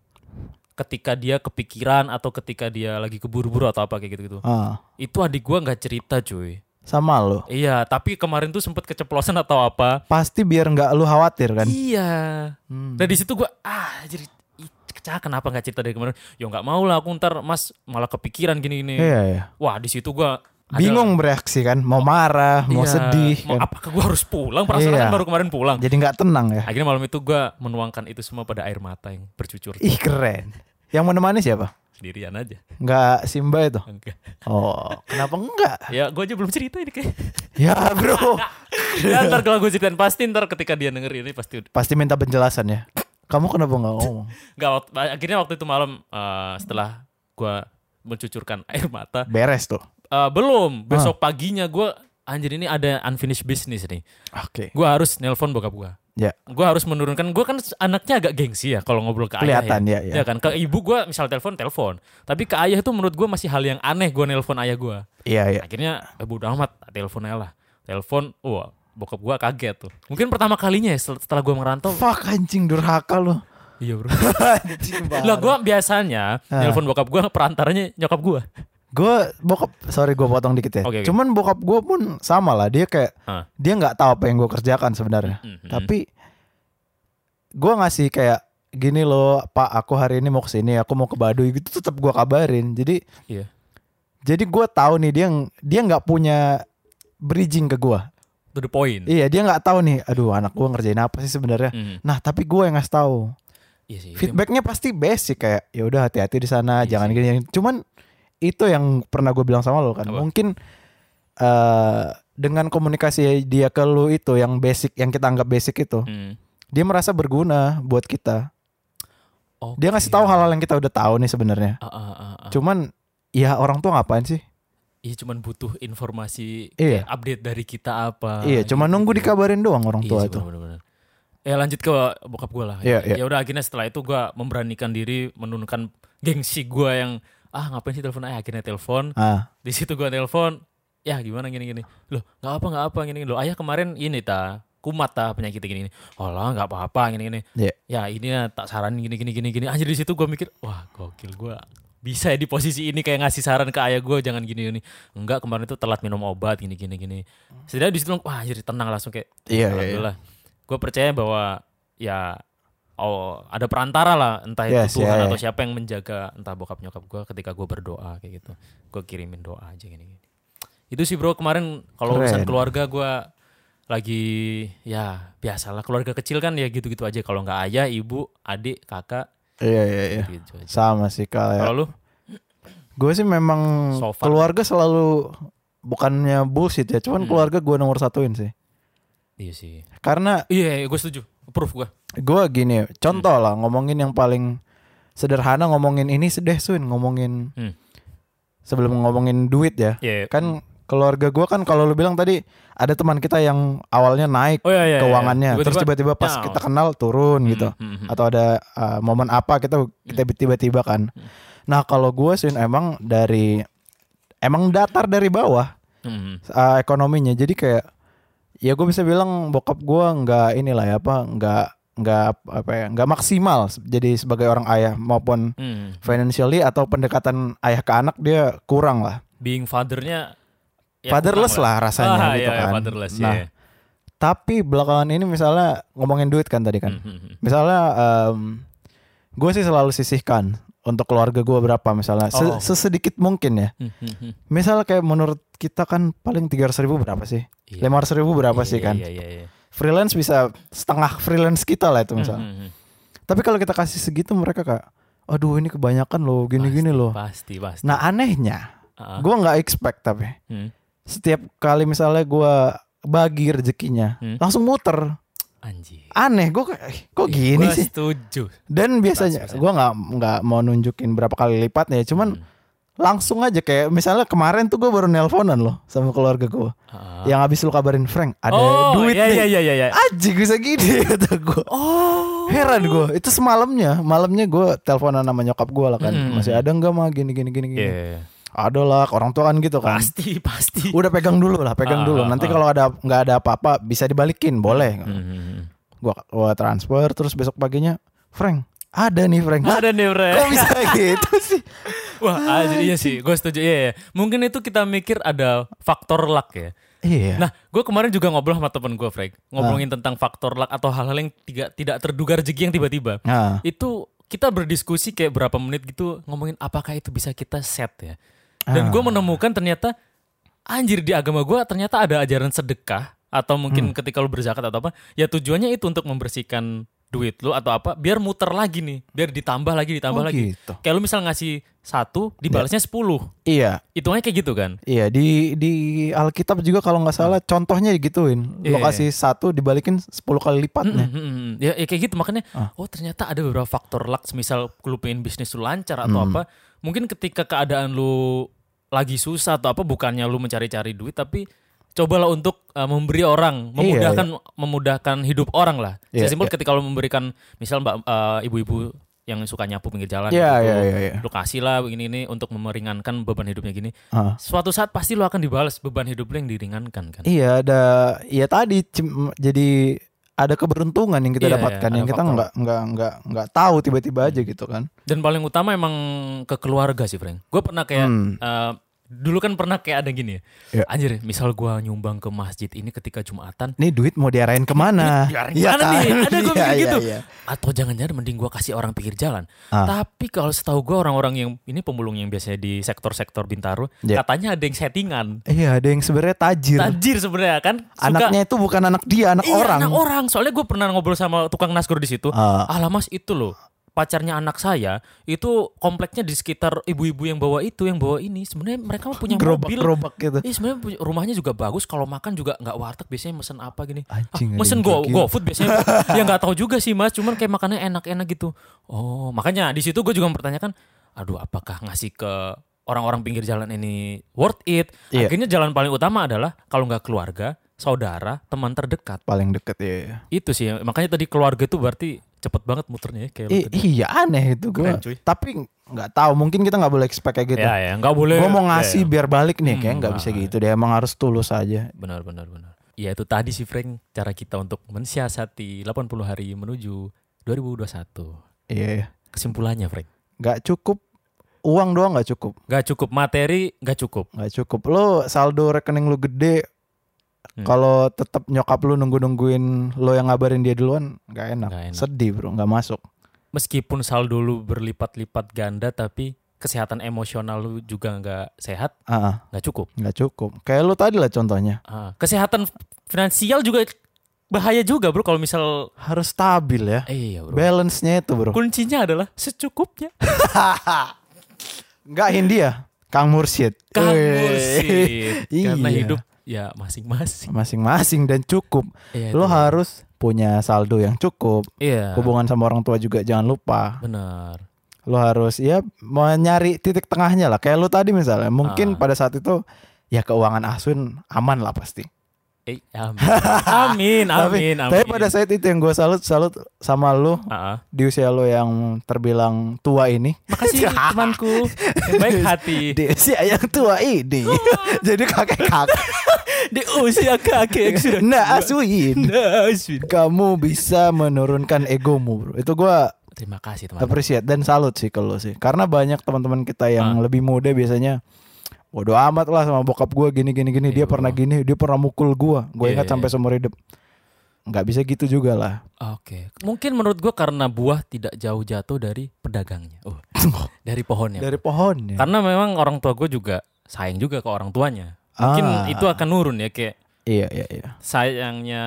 Speaker 3: Ketika dia kepikiran atau ketika dia lagi keburu-buru atau apa kayak gitu-gitu.
Speaker 2: Ah.
Speaker 3: Itu adik gue nggak cerita cuy.
Speaker 2: Sama lu.
Speaker 3: Iya, tapi kemarin tuh sempet keceplosan atau apa.
Speaker 2: Pasti biar nggak lu khawatir kan.
Speaker 3: Iya.
Speaker 2: Hmm.
Speaker 3: Nah di situ gue ah jadi kecah kenapa nggak cerita dari kemarin? Yo nggak mau lah aku ntar mas malah kepikiran gini gini.
Speaker 2: Iya, iya.
Speaker 3: Wah di situ gue
Speaker 2: Bingung bereaksi kan, mau marah, mau sedih
Speaker 3: Iya, Mau,
Speaker 2: kan.
Speaker 3: apakah gue harus pulang? Perasaan
Speaker 2: Iya.
Speaker 3: kan baru kemarin pulang.
Speaker 2: Jadi nggak tenang ya.
Speaker 3: Akhirnya malam itu gue menuangkan itu semua pada air mata yang bercucur
Speaker 2: Ih keren. Yang menemani siapa?
Speaker 3: sendirian aja.
Speaker 2: Nggak Simba itu.
Speaker 3: Enggak.
Speaker 2: Oh, kenapa enggak?
Speaker 3: Ya gue aja belum cerita ini kayak.
Speaker 2: Ya bro,
Speaker 3: ya, ntar kalau gue ceritain pasti ntar ketika dia denger ini pasti udah.
Speaker 2: pasti minta penjelasan ya. Kamu kenapa nggak ngomong?
Speaker 3: Nggak, wakt- akhirnya waktu itu malam eh, setelah gue mencucurkan air mata
Speaker 2: Beres tuh.
Speaker 3: Eh,
Speaker 2: Ah.
Speaker 3: belum. Besok paginya gue anjir ini ada unfinished business nih.
Speaker 2: Oke.
Speaker 3: Gue harus nelpon bokap gue.
Speaker 2: Ya.
Speaker 3: Gue harus menurunkan. Gue kan anaknya agak gengsi ya kalau ngobrol ke
Speaker 2: Kelihatan,
Speaker 3: ayah.
Speaker 2: ya, ya.
Speaker 3: Ya kan ke ibu gue misal telepon telepon. Tapi ke ayah itu menurut gue masih hal yang aneh gue nelpon ayah gue.
Speaker 2: Iya iya.
Speaker 3: Akhirnya eh, bodo amat telepon aja lah. Telepon. Wah bokap gue kaget tuh. Mungkin pertama kalinya ya setel- setelah gue merantau.
Speaker 2: Fuck anjing durhaka lu.
Speaker 3: iya bro.
Speaker 2: Anjing
Speaker 3: Lah gue biasanya
Speaker 2: Ah.
Speaker 3: nelpon bokap gue perantaranya nyokap gue.
Speaker 2: Gue bokap, sorry gue potong dikit ya.
Speaker 3: Oke, oke.
Speaker 2: Cuman bokap gue pun sama lah. Dia kayak
Speaker 3: Ah.
Speaker 2: dia nggak tahu apa yang gue kerjakan sebenarnya.
Speaker 3: Mhm.
Speaker 2: Ya. Tapi gue ngasih kayak gini loh, Pak, aku hari ini mau kesini, aku mau ke Baduy gitu tetap gue kabarin. Jadi
Speaker 3: Iya.
Speaker 2: jadi gue tahu nih dia dia nggak punya bridging ke gue.
Speaker 3: To the point.
Speaker 2: Iya dia nggak tahu nih. Aduh anak gue ngerjain apa sih sebenarnya.
Speaker 3: Mhm.
Speaker 2: Nah tapi gue yang ngasih tahu.
Speaker 3: Iya sih. itu yang-
Speaker 2: Feedbacknya pasti basic kayak ya udah hati-hati di sana,
Speaker 3: Iya
Speaker 2: jangan gini. Cuman itu yang pernah gue bilang sama lo kan.
Speaker 3: Apa?
Speaker 2: Mungkin eh dengan komunikasi dia ke lo itu yang basic, yang kita anggap basic itu,
Speaker 3: Mhm.
Speaker 2: dia merasa berguna buat kita.
Speaker 3: Oke. ya.
Speaker 2: Dia ngasih tahu hal-hal yang kita udah tahu nih sebenarnya.
Speaker 3: Ah, ah, ah, ah.
Speaker 2: Cuman ya orang tua ngapain sih?
Speaker 3: Iya cuman butuh informasi
Speaker 2: Iya.
Speaker 3: kayak update dari kita apa. Gitu. Iya
Speaker 2: iya, cuman nunggu dikabarin doang orang tua itu.
Speaker 3: Ya lanjut ke bokap gue lah.
Speaker 2: Iya, iya.
Speaker 3: Ya udah akhirnya setelah itu gue memberanikan diri menurunkan gengsi gue yang ah ngapain sih telepon ayah akhirnya telepon
Speaker 2: Ah,
Speaker 3: di situ gue telepon ya gimana gini gini loh nggak apa nggak apa gini gini. loh ayah kemarin ini ta kumat ta penyakitnya gini gini oh lah nggak apa apa gini gini
Speaker 2: Iya.
Speaker 3: ya ini ya, tak saran gini gini gini gini anjir di situ gue mikir wah gokil gue bisa ya di posisi ini kayak ngasih saran ke ayah gue jangan gini gini enggak kemarin itu telat minum obat gini gini gini setidaknya di situ wah anjir tenang langsung kayak
Speaker 2: Iya, iya, iya.
Speaker 3: alhamdulillah gue percaya bahwa ya oh ada perantara lah entah
Speaker 2: Yes,
Speaker 3: itu Tuhan
Speaker 2: iya, iya.
Speaker 3: atau siapa yang menjaga entah bokap nyokap gue ketika gue berdoa kayak gitu gue kirimin doa aja gini gini itu sih bro kemarin kalau urusan
Speaker 2: Keren.
Speaker 3: keluarga gue lagi ya biasalah keluarga kecil kan ya gitu-gitu aja kalau nggak ayah ibu adik kakak
Speaker 2: iya iya iya.
Speaker 3: gitu aja
Speaker 2: Sama sih ya.
Speaker 3: kalau
Speaker 2: kayak
Speaker 3: lu
Speaker 2: gue sih memang
Speaker 3: So far. Hmm.
Speaker 2: keluarga selalu bukannya bullshit ya, cuman keluarga gue nomor satuin sih.
Speaker 3: iya sih
Speaker 2: Karena
Speaker 3: iya iya, gue setuju proof gue
Speaker 2: gue gini, contoh lah ngomongin yang paling sederhana ngomongin ini sedeh Sun, ngomongin
Speaker 3: Hmm.
Speaker 2: sebelum ngomongin duit ya.
Speaker 3: Iya, iya.
Speaker 2: Kan keluarga gue kan kalau lu bilang tadi ada teman kita yang awalnya naik
Speaker 3: Oh, iya, iya, iya.
Speaker 2: keuangannya, terus tiba-tiba
Speaker 3: Tiba-tiba
Speaker 2: pas
Speaker 3: down.
Speaker 2: kita kenal turun gitu.
Speaker 3: hmm, hmm.
Speaker 2: Atau ada uh, momen apa kita kita tiba-tiba kan.
Speaker 3: Hmm.
Speaker 2: Nah, kalau gue Sun emang dari emang datar dari bawah
Speaker 3: Hmm.
Speaker 2: uh, ekonominya jadi kayak ya gue bisa bilang bokap gue nggak inilah ya apa nggak nggak apa ya nggak maksimal se- jadi sebagai orang ayah maupun
Speaker 3: Hmm.
Speaker 2: financially atau pendekatan ayah ke anak dia kurang lah
Speaker 3: being fathernya ya,
Speaker 2: fatherless
Speaker 3: kurang
Speaker 2: lah rasanya
Speaker 3: ah,
Speaker 2: gitu
Speaker 3: iya, iya,
Speaker 2: kan
Speaker 3: fatherless
Speaker 2: nah
Speaker 3: iya.
Speaker 2: tapi belakangan ini misalnya ngomongin duit kan tadi kan
Speaker 3: Hmm, hmm, hmm.
Speaker 2: misalnya gue sih selalu sisihkan untuk keluarga gue berapa misalnya Se-
Speaker 3: Oh.
Speaker 2: sesedikit mungkin ya
Speaker 3: Hmm, hmm, hmm.
Speaker 2: misal kayak menurut kita kan paling 300 ribu berapa sih
Speaker 3: Iya.
Speaker 2: lima ribu berapa sih
Speaker 3: Iya,
Speaker 2: kan
Speaker 3: Iya iya iya.
Speaker 2: freelance bisa setengah freelance kita lah itu misalnya
Speaker 3: Hmm, hmm, hmm.
Speaker 2: tapi kalau kita kasih segitu mereka kayak aduh ini kebanyakan loh gini gini loh
Speaker 3: Pasti pasti.
Speaker 2: nah anehnya
Speaker 3: Ah, ah.
Speaker 2: gue nggak expect tapi
Speaker 3: Hmm.
Speaker 2: setiap kali misalnya gue bagi rezekinya
Speaker 3: Hmm.
Speaker 2: langsung muter
Speaker 3: Anjir.
Speaker 2: aneh gue kayak, "Eh, kok gini
Speaker 3: Gua
Speaker 2: sih
Speaker 3: setuju.
Speaker 2: dan biasanya
Speaker 3: 100%.
Speaker 2: gue nggak nggak mau nunjukin berapa kali lipatnya cuman
Speaker 3: ya. Hmm.
Speaker 2: langsung aja kayak misalnya kemarin tuh gue baru nelponan loh sama keluarga gue
Speaker 3: Ah.
Speaker 2: yang habis lu kabarin Frank Ya, ada
Speaker 3: oh,
Speaker 2: duit
Speaker 3: iya,
Speaker 2: nih Ah,
Speaker 3: iya, iya, iya, iya.
Speaker 2: Anjing, bisa gini kata gue
Speaker 3: Oh.
Speaker 2: heran gue itu semalamnya malamnya gue teleponan sama nyokap gue lah kan
Speaker 3: Mm-mm.
Speaker 2: masih ada nggak mah gini gini gini gini
Speaker 3: Hmm. Iya.
Speaker 2: ada lah orang tua kan gitu kan
Speaker 3: Pasti, pasti.
Speaker 2: udah pegang dulu lah pegang
Speaker 3: Ah,
Speaker 2: dulu
Speaker 3: ah,
Speaker 2: nanti
Speaker 3: ah.
Speaker 2: kalau ada nggak ada apa-apa bisa dibalikin boleh
Speaker 3: Hmm.
Speaker 2: gua, gua transfer terus besok paginya Frank ada nih Frank Hah,
Speaker 3: Nah, Ada nih, Bre.
Speaker 2: kok bisa gitu sih
Speaker 3: Wah, ah, jadi iya sih, gue setuju. Iya, iya. Mungkin itu kita mikir ada faktor luck ya.
Speaker 2: iya
Speaker 3: Nah, gue kemarin juga ngobrol sama temen gue, Frank. Ngomongin
Speaker 2: Ah.
Speaker 3: tentang faktor luck atau hal-hal yang tiga, tidak terduga rezeki yang tiba-tiba.
Speaker 2: Nah,
Speaker 3: Itu kita berdiskusi kayak berapa menit gitu ngomongin apakah itu bisa kita set ya.
Speaker 2: Ah.
Speaker 3: Dan gue menemukan ternyata anjir di agama gue ternyata ada ajaran sedekah atau
Speaker 2: Hmm.
Speaker 3: mungkin ketika lu berzakat atau apa, ya tujuannya itu untuk membersihkan duit lu atau apa biar muter lagi nih, biar ditambah lagi
Speaker 2: Oh,
Speaker 3: ditambah lagi.
Speaker 2: gitu.
Speaker 3: Kayak lu misal ngasih satu dibalasnya 10.
Speaker 2: iya
Speaker 3: Hitungannya kayak gitu kan?
Speaker 2: iya di di Alkitab juga kalau nggak salah contohnya digituin
Speaker 3: Ah. Iya,
Speaker 2: lokasi satu dibalikin 10 kali lipatnya
Speaker 3: Mm, mm, mm. Ya, ya kayak gitu makanya
Speaker 2: Ah.
Speaker 3: oh ternyata ada beberapa faktor luck misal lu pengen bisnis lu lancar atau apa mungkin ketika keadaan lu lagi susah atau apa bukannya lu mencari-cari duit tapi cobalah untuk uh, memberi orang memudahkan memudahkan hidup orang lah
Speaker 2: Iya,
Speaker 3: sesimpel ketika lu memberikan misal mbak uh, ibu-ibu yang suka nyapu pinggir jalan
Speaker 2: Iya,
Speaker 3: gitu,
Speaker 2: iya, iya, iya.
Speaker 3: lu kasih lah ini ini untuk memeringankan beban hidupnya gini
Speaker 2: Ah.
Speaker 3: suatu saat pasti lu akan dibalas beban hidup lu yang diringankan kan
Speaker 2: Iya ada ya tadi cem- jadi ada keberuntungan yang kita
Speaker 3: Iya,
Speaker 2: dapatkan
Speaker 3: iya,
Speaker 2: yang
Speaker 3: ada
Speaker 2: kita
Speaker 3: faktor. Hmm.
Speaker 2: nggak nggak nggak nggak tahu tiba-tiba aja gitu kan.
Speaker 3: Dan paling utama emang ke keluarga sih, Frank. Gue pernah kayak
Speaker 2: Hmm.
Speaker 3: eh, dulu kan pernah kayak ada gini ya.
Speaker 2: Iya.
Speaker 3: Anjir, misal gue nyumbang ke masjid ini ketika Jumatan,
Speaker 2: Nih duit mau diarahin kemana?
Speaker 3: diarahin
Speaker 2: Iya
Speaker 3: kemana nih? Ada
Speaker 2: Iya,
Speaker 3: gue mikir
Speaker 2: iya,
Speaker 3: gitu.
Speaker 2: iya.
Speaker 3: Atau jangan-jangan mending gue kasih orang pinggir jalan.
Speaker 2: Ah.
Speaker 3: Tapi kalau setahu gue orang-orang yang ini pemulung yang biasanya di sektor-sektor Bintaro,
Speaker 2: Iya.
Speaker 3: katanya ada yang settingan.
Speaker 2: Iya ada yang sebenarnya tajir.
Speaker 3: Tajir sebenarnya kan
Speaker 2: Gitu.
Speaker 3: suka-
Speaker 2: Anaknya itu bukan anak dia, anak
Speaker 3: Iya,
Speaker 2: orang.
Speaker 3: anak orang. Soalnya gue pernah ngobrol sama tukang nasgor di situ.
Speaker 2: Ah.
Speaker 3: Alah mas itu loh pacarnya anak saya itu kompleksnya di sekitar ibu-ibu yang bawa itu yang bawa ini sebenarnya mereka mah punya mobil
Speaker 2: Gerobak-gerobak gitu.
Speaker 3: Iya sebenarnya punya- rumahnya juga bagus kalau makan juga nggak warteg biasanya mesen apa gini Ah,
Speaker 2: Anjing, ada
Speaker 3: mesen
Speaker 2: yang
Speaker 3: go
Speaker 2: kayak
Speaker 3: GoFood biasanya ya nggak tahu juga sih mas cuman kayak makannya enak-enak gitu oh makanya di situ gue juga mempertanyakan aduh apakah ngasih ke orang-orang pinggir jalan ini worth it
Speaker 2: Iya.
Speaker 3: akhirnya jalan paling utama adalah kalau nggak keluarga saudara teman terdekat
Speaker 2: Paling deket ya. iya.
Speaker 3: itu sih makanya tadi keluarga tuh berarti cepet banget muternya ya kayak lu
Speaker 2: I-
Speaker 3: tadi.
Speaker 2: iya aneh itu gue.
Speaker 3: Keren, cuy.
Speaker 2: Tapi nggak tahu mungkin kita nggak boleh expect kayak gitu.
Speaker 3: ya ya nggak boleh
Speaker 2: Gue mau
Speaker 3: Ya,
Speaker 2: ngasih
Speaker 3: ya.
Speaker 2: biar balik nih kayak nggak
Speaker 3: Hmm,
Speaker 2: bisa gitu deh. Emang harus tulus aja.
Speaker 3: benar benar benar ya itu tadi sih Frank cara kita untuk mensiasati 80 hari menuju 2021
Speaker 2: Iya. iya.
Speaker 3: kesimpulannya Frank
Speaker 2: Nggak cukup uang doang nggak cukup.
Speaker 3: nggak cukup materi nggak cukup
Speaker 2: nggak cukup lo saldo rekening lu gede
Speaker 3: Hmm.
Speaker 2: kalau tetap nyokap lu nunggu nungguin lo yang ngabarin dia duluan nggak enak.
Speaker 3: Nggak enak.
Speaker 2: sedih bro nggak masuk
Speaker 3: meskipun saldo lu berlipat-lipat ganda tapi kesehatan emosional lu juga nggak sehat
Speaker 2: Ah,
Speaker 3: nggak cukup
Speaker 2: nggak cukup kayak lu tadi lah contohnya
Speaker 3: Ah, kesehatan finansial juga bahaya juga bro kalau misal
Speaker 2: harus stabil ya
Speaker 3: eh, iya bro
Speaker 2: balance nya itu bro
Speaker 3: kuncinya adalah secukupnya
Speaker 2: nggak Hindia Kang Mursyid
Speaker 3: Kang
Speaker 2: Wih.
Speaker 3: Mursid. Karena
Speaker 2: Iya.
Speaker 3: hidup ya masing-masing.
Speaker 2: masing-masing dan cukup
Speaker 3: Iya,
Speaker 2: lo
Speaker 3: itu.
Speaker 2: harus punya saldo yang cukup
Speaker 3: Iya.
Speaker 2: hubungan sama orang tua juga jangan lupa
Speaker 3: Benar.
Speaker 2: lo harus ya mau nyari titik tengahnya lah kayak lo tadi misalnya
Speaker 3: Ah.
Speaker 2: mungkin pada saat itu ya keuangan Asun aman lah pasti
Speaker 3: Eh, amin. amin, amin, amin.
Speaker 2: tapi pada saat itu yang gue salut salut sama lo
Speaker 3: Ah, ah.
Speaker 2: di usia lo yang terbilang tua ini
Speaker 3: Makasih temanku yang baik hati
Speaker 2: di usia yang tua ini jadi kakek kakek
Speaker 3: di usia kakek yang sudah
Speaker 2: nah Asuin
Speaker 3: nasib.
Speaker 2: kamu bisa menurunkan egomu bro itu gue
Speaker 3: Terima kasih teman.
Speaker 2: appreciate dan salut sih kalau sih karena banyak teman-teman kita yang
Speaker 3: Ah.
Speaker 2: lebih muda biasanya bodoh amat lah sama bokap gue gini gini gini dia pernah gini dia pernah mukul gue gue
Speaker 3: Iya,
Speaker 2: ingat
Speaker 3: iya,
Speaker 2: sampai seumur hidup nggak bisa gitu juga lah.
Speaker 3: Oke. Mungkin menurut gua karena buah tidak jauh jatuh dari pedagangnya. Oh, dari pohonnya.
Speaker 2: Dari ya. pohonnya.
Speaker 3: Karena memang orang tua gue juga sayang juga ke orang tuanya. Mungkin
Speaker 2: Ah.
Speaker 3: itu akan nurun ya kayak
Speaker 2: Iya iya iya.
Speaker 3: sayangnya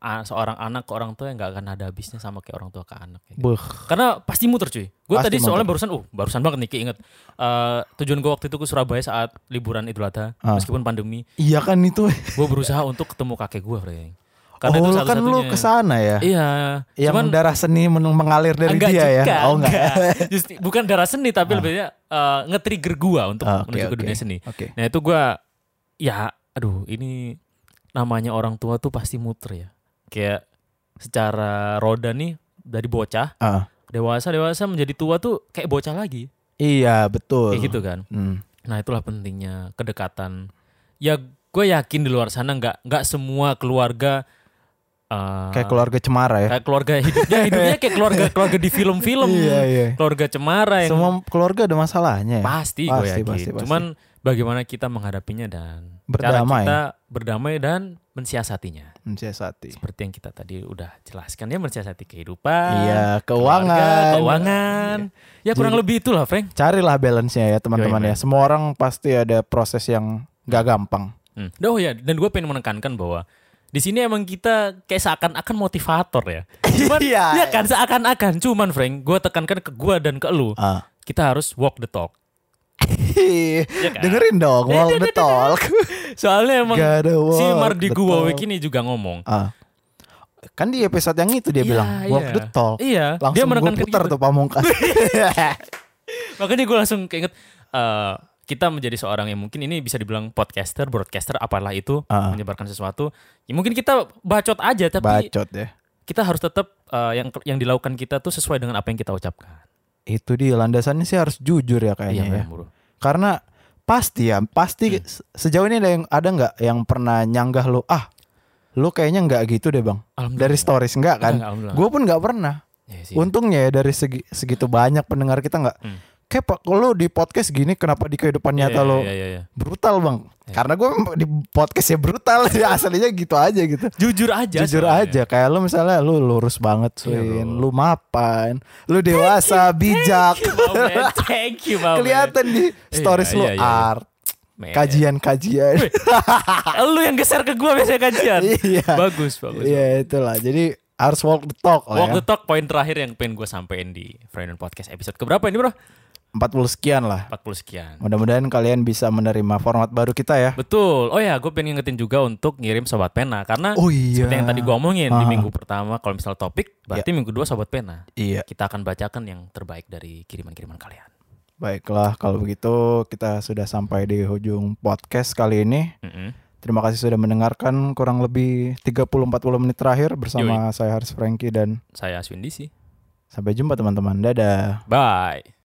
Speaker 3: ah, seorang anak ke orang tua yang nggak akan ada habisnya sama kayak orang tua ke anak. kayak gitu.
Speaker 2: Beuh.
Speaker 3: Karena pasti muter cuy. Gue
Speaker 2: Pasti
Speaker 3: tadi soalnya
Speaker 2: muter.
Speaker 3: barusan, uh barusan banget nih keinget. Eh, tujuan gue waktu itu ke Surabaya saat liburan Idul Adha,
Speaker 2: Ah.
Speaker 3: meskipun pandemi,
Speaker 2: Iya kan itu.
Speaker 3: gue berusaha untuk ketemu kakek gue,
Speaker 2: oh
Speaker 3: karena itu
Speaker 2: lu kan lu
Speaker 3: satu-satunya.
Speaker 2: kesana ya.
Speaker 3: Iya.
Speaker 2: Yang
Speaker 3: cuman-
Speaker 2: darah seni men- mengalir dari
Speaker 3: enggak
Speaker 2: dia
Speaker 3: juga,
Speaker 2: ya. Oh enggak.
Speaker 3: Justru- bukan darah seni tapi lebihnya eh, nge-trigger gua untuk
Speaker 2: Ah, oke,
Speaker 3: menuju ke
Speaker 2: oke.
Speaker 3: dunia seni.
Speaker 2: Oke.
Speaker 3: Nah, itu gua ya aduh ini namanya orang tua tuh pasti muter ya. Kayak secara roda nih dari bocah
Speaker 2: Ah,
Speaker 3: dewasa dewasa menjadi tua tuh kayak bocah lagi.
Speaker 2: iya betul.
Speaker 3: Kayak gitu kan.
Speaker 2: Hmm.
Speaker 3: Nah, itulah pentingnya kedekatan. Ya gue yakin di luar sana nggak nggak semua keluarga eh,
Speaker 2: Kayak keluarga cemara ya.
Speaker 3: kayak keluarga hidupnya hidupnya kayak keluarga keluarga di film-film
Speaker 2: Iya, iya.
Speaker 3: keluarga cemara yang
Speaker 2: Semua keluarga ada masalahnya. ya?
Speaker 3: pasti gue
Speaker 2: Pasti,
Speaker 3: yakin
Speaker 2: pasti, pasti.
Speaker 3: cuman bagaimana kita menghadapinya dan cara
Speaker 2: Berdamai.
Speaker 3: kita berdamai dan mensiasatinya
Speaker 2: Mensiasati.
Speaker 3: seperti yang kita tadi udah jelaskan ya mensiasati kehidupan
Speaker 2: Iya,
Speaker 3: keluarga,
Speaker 2: keuangan. Iya.
Speaker 3: keuangan ya kurang
Speaker 2: Jadi-
Speaker 3: lebih itulah Frank
Speaker 2: Carilah balance-nya ya teman-teman
Speaker 3: Yoi,
Speaker 2: ya. Semua orang pasti ada proses yang gak gampang.
Speaker 3: Hmm. Oh ya, dan gue pengen menekankan bahwa di sini emang kita kayak seakan-akan motivator ya. Cuman
Speaker 2: Iya.
Speaker 3: iya kan seakan-akan. Cuman Frank, gue tekankan ke gue dan ke lu,
Speaker 2: Ah.
Speaker 3: kita harus walk the talk. kan?
Speaker 2: Dengerin dong,
Speaker 3: Eh,
Speaker 2: walk
Speaker 3: eh,
Speaker 2: the
Speaker 3: eh, eh,
Speaker 2: talk.
Speaker 3: Soalnya emang
Speaker 2: Gotta
Speaker 3: si
Speaker 2: walk
Speaker 3: Mardi
Speaker 2: the
Speaker 3: Gua
Speaker 2: talk.
Speaker 3: Wekini juga ngomong.
Speaker 2: Ah. Kan di episode yang itu dia
Speaker 3: Iya,
Speaker 2: bilang walk
Speaker 3: iya.
Speaker 2: the talk.
Speaker 3: Iya, dia
Speaker 2: Langsung gue
Speaker 3: menekankan
Speaker 2: putar
Speaker 3: gitu.
Speaker 2: tuh pamungkas.
Speaker 3: Makanya gue langsung keinget eh, kita menjadi seorang yang mungkin ini bisa dibilang podcaster, broadcaster, apalah itu
Speaker 2: Ah.
Speaker 3: menyebarkan sesuatu. Ya mungkin kita bacot aja, tapi
Speaker 2: Bacot ya.
Speaker 3: kita harus tetap eh, yang yang dilakukan kita tuh sesuai dengan apa yang kita ucapkan.
Speaker 2: Itu dia landasannya sih harus jujur ya kayaknya ya.
Speaker 3: Iya, bro.
Speaker 2: Karena pasti ya,
Speaker 3: Hmm.
Speaker 2: pasti se- sejauh ini ada yang ada nggak yang pernah nyanggah lu ah lu kayaknya nggak gitu deh bang
Speaker 3: Alhamdulillah.
Speaker 2: dari stories nggak kan
Speaker 3: Nggak, alhamdulillah.
Speaker 2: gue pun nggak pernah
Speaker 3: Iya sih.
Speaker 2: untungnya ya dari segi segitu banyak pendengar kita nggak
Speaker 3: Hmm.
Speaker 2: kayak pak lu di podcast gini kenapa di kehidupan
Speaker 3: Iya,
Speaker 2: nyata
Speaker 3: iya,
Speaker 2: lu
Speaker 3: iya, iya, iya.
Speaker 2: brutal bang karena gue di podcastnya brutal ya aslinya gitu aja gitu
Speaker 3: Jujur aja.
Speaker 2: jujur
Speaker 3: soalnya.
Speaker 2: aja kayak lu misalnya lu lurus banget
Speaker 3: Iya,
Speaker 2: Swin
Speaker 3: bro.
Speaker 2: lu mapan lu dewasa bijak
Speaker 3: Wow, Oh, man. Thank you, wow, man.
Speaker 2: kelihatan di stories
Speaker 3: Oh, Iya,
Speaker 2: lu
Speaker 3: iya, iya.
Speaker 2: art
Speaker 3: Man. Ah,
Speaker 2: kajian-kajian
Speaker 3: Lu yang geser ke gua biasanya kajian.
Speaker 2: Iya.
Speaker 3: Bagus, bagus.
Speaker 2: Iya itulah jadi harus walk the talk lah
Speaker 3: Walk
Speaker 2: ya
Speaker 3: the talk poin terakhir yang pengen gue sampein di Friend Podcast episode keberapa ini bro?
Speaker 2: 40 sekian lah
Speaker 3: 40 sekian.
Speaker 2: mudah-mudahan kalian bisa menerima format baru kita ya
Speaker 3: Betul. Oh ya, gue pengen ngingetin juga untuk ngirim sobat pena karena
Speaker 2: Oh, iya.
Speaker 3: seperti yang tadi gue omongin di
Speaker 2: Ah.
Speaker 3: minggu pertama kalau misal topik, berarti minggu dua sobat pena.
Speaker 2: iya
Speaker 3: Kita akan bacakan yang terbaik dari kiriman-kiriman kalian.
Speaker 2: baiklah kalau begitu kita sudah sampai di ujung podcast kali ini
Speaker 3: Mm-mm.
Speaker 2: Terima kasih sudah mendengarkan kurang lebih 30-40 menit terakhir bersama saya Haris Franky dan
Speaker 3: Saya Aswin Disi.
Speaker 2: sampai jumpa teman-teman. Dadah.
Speaker 3: Bye.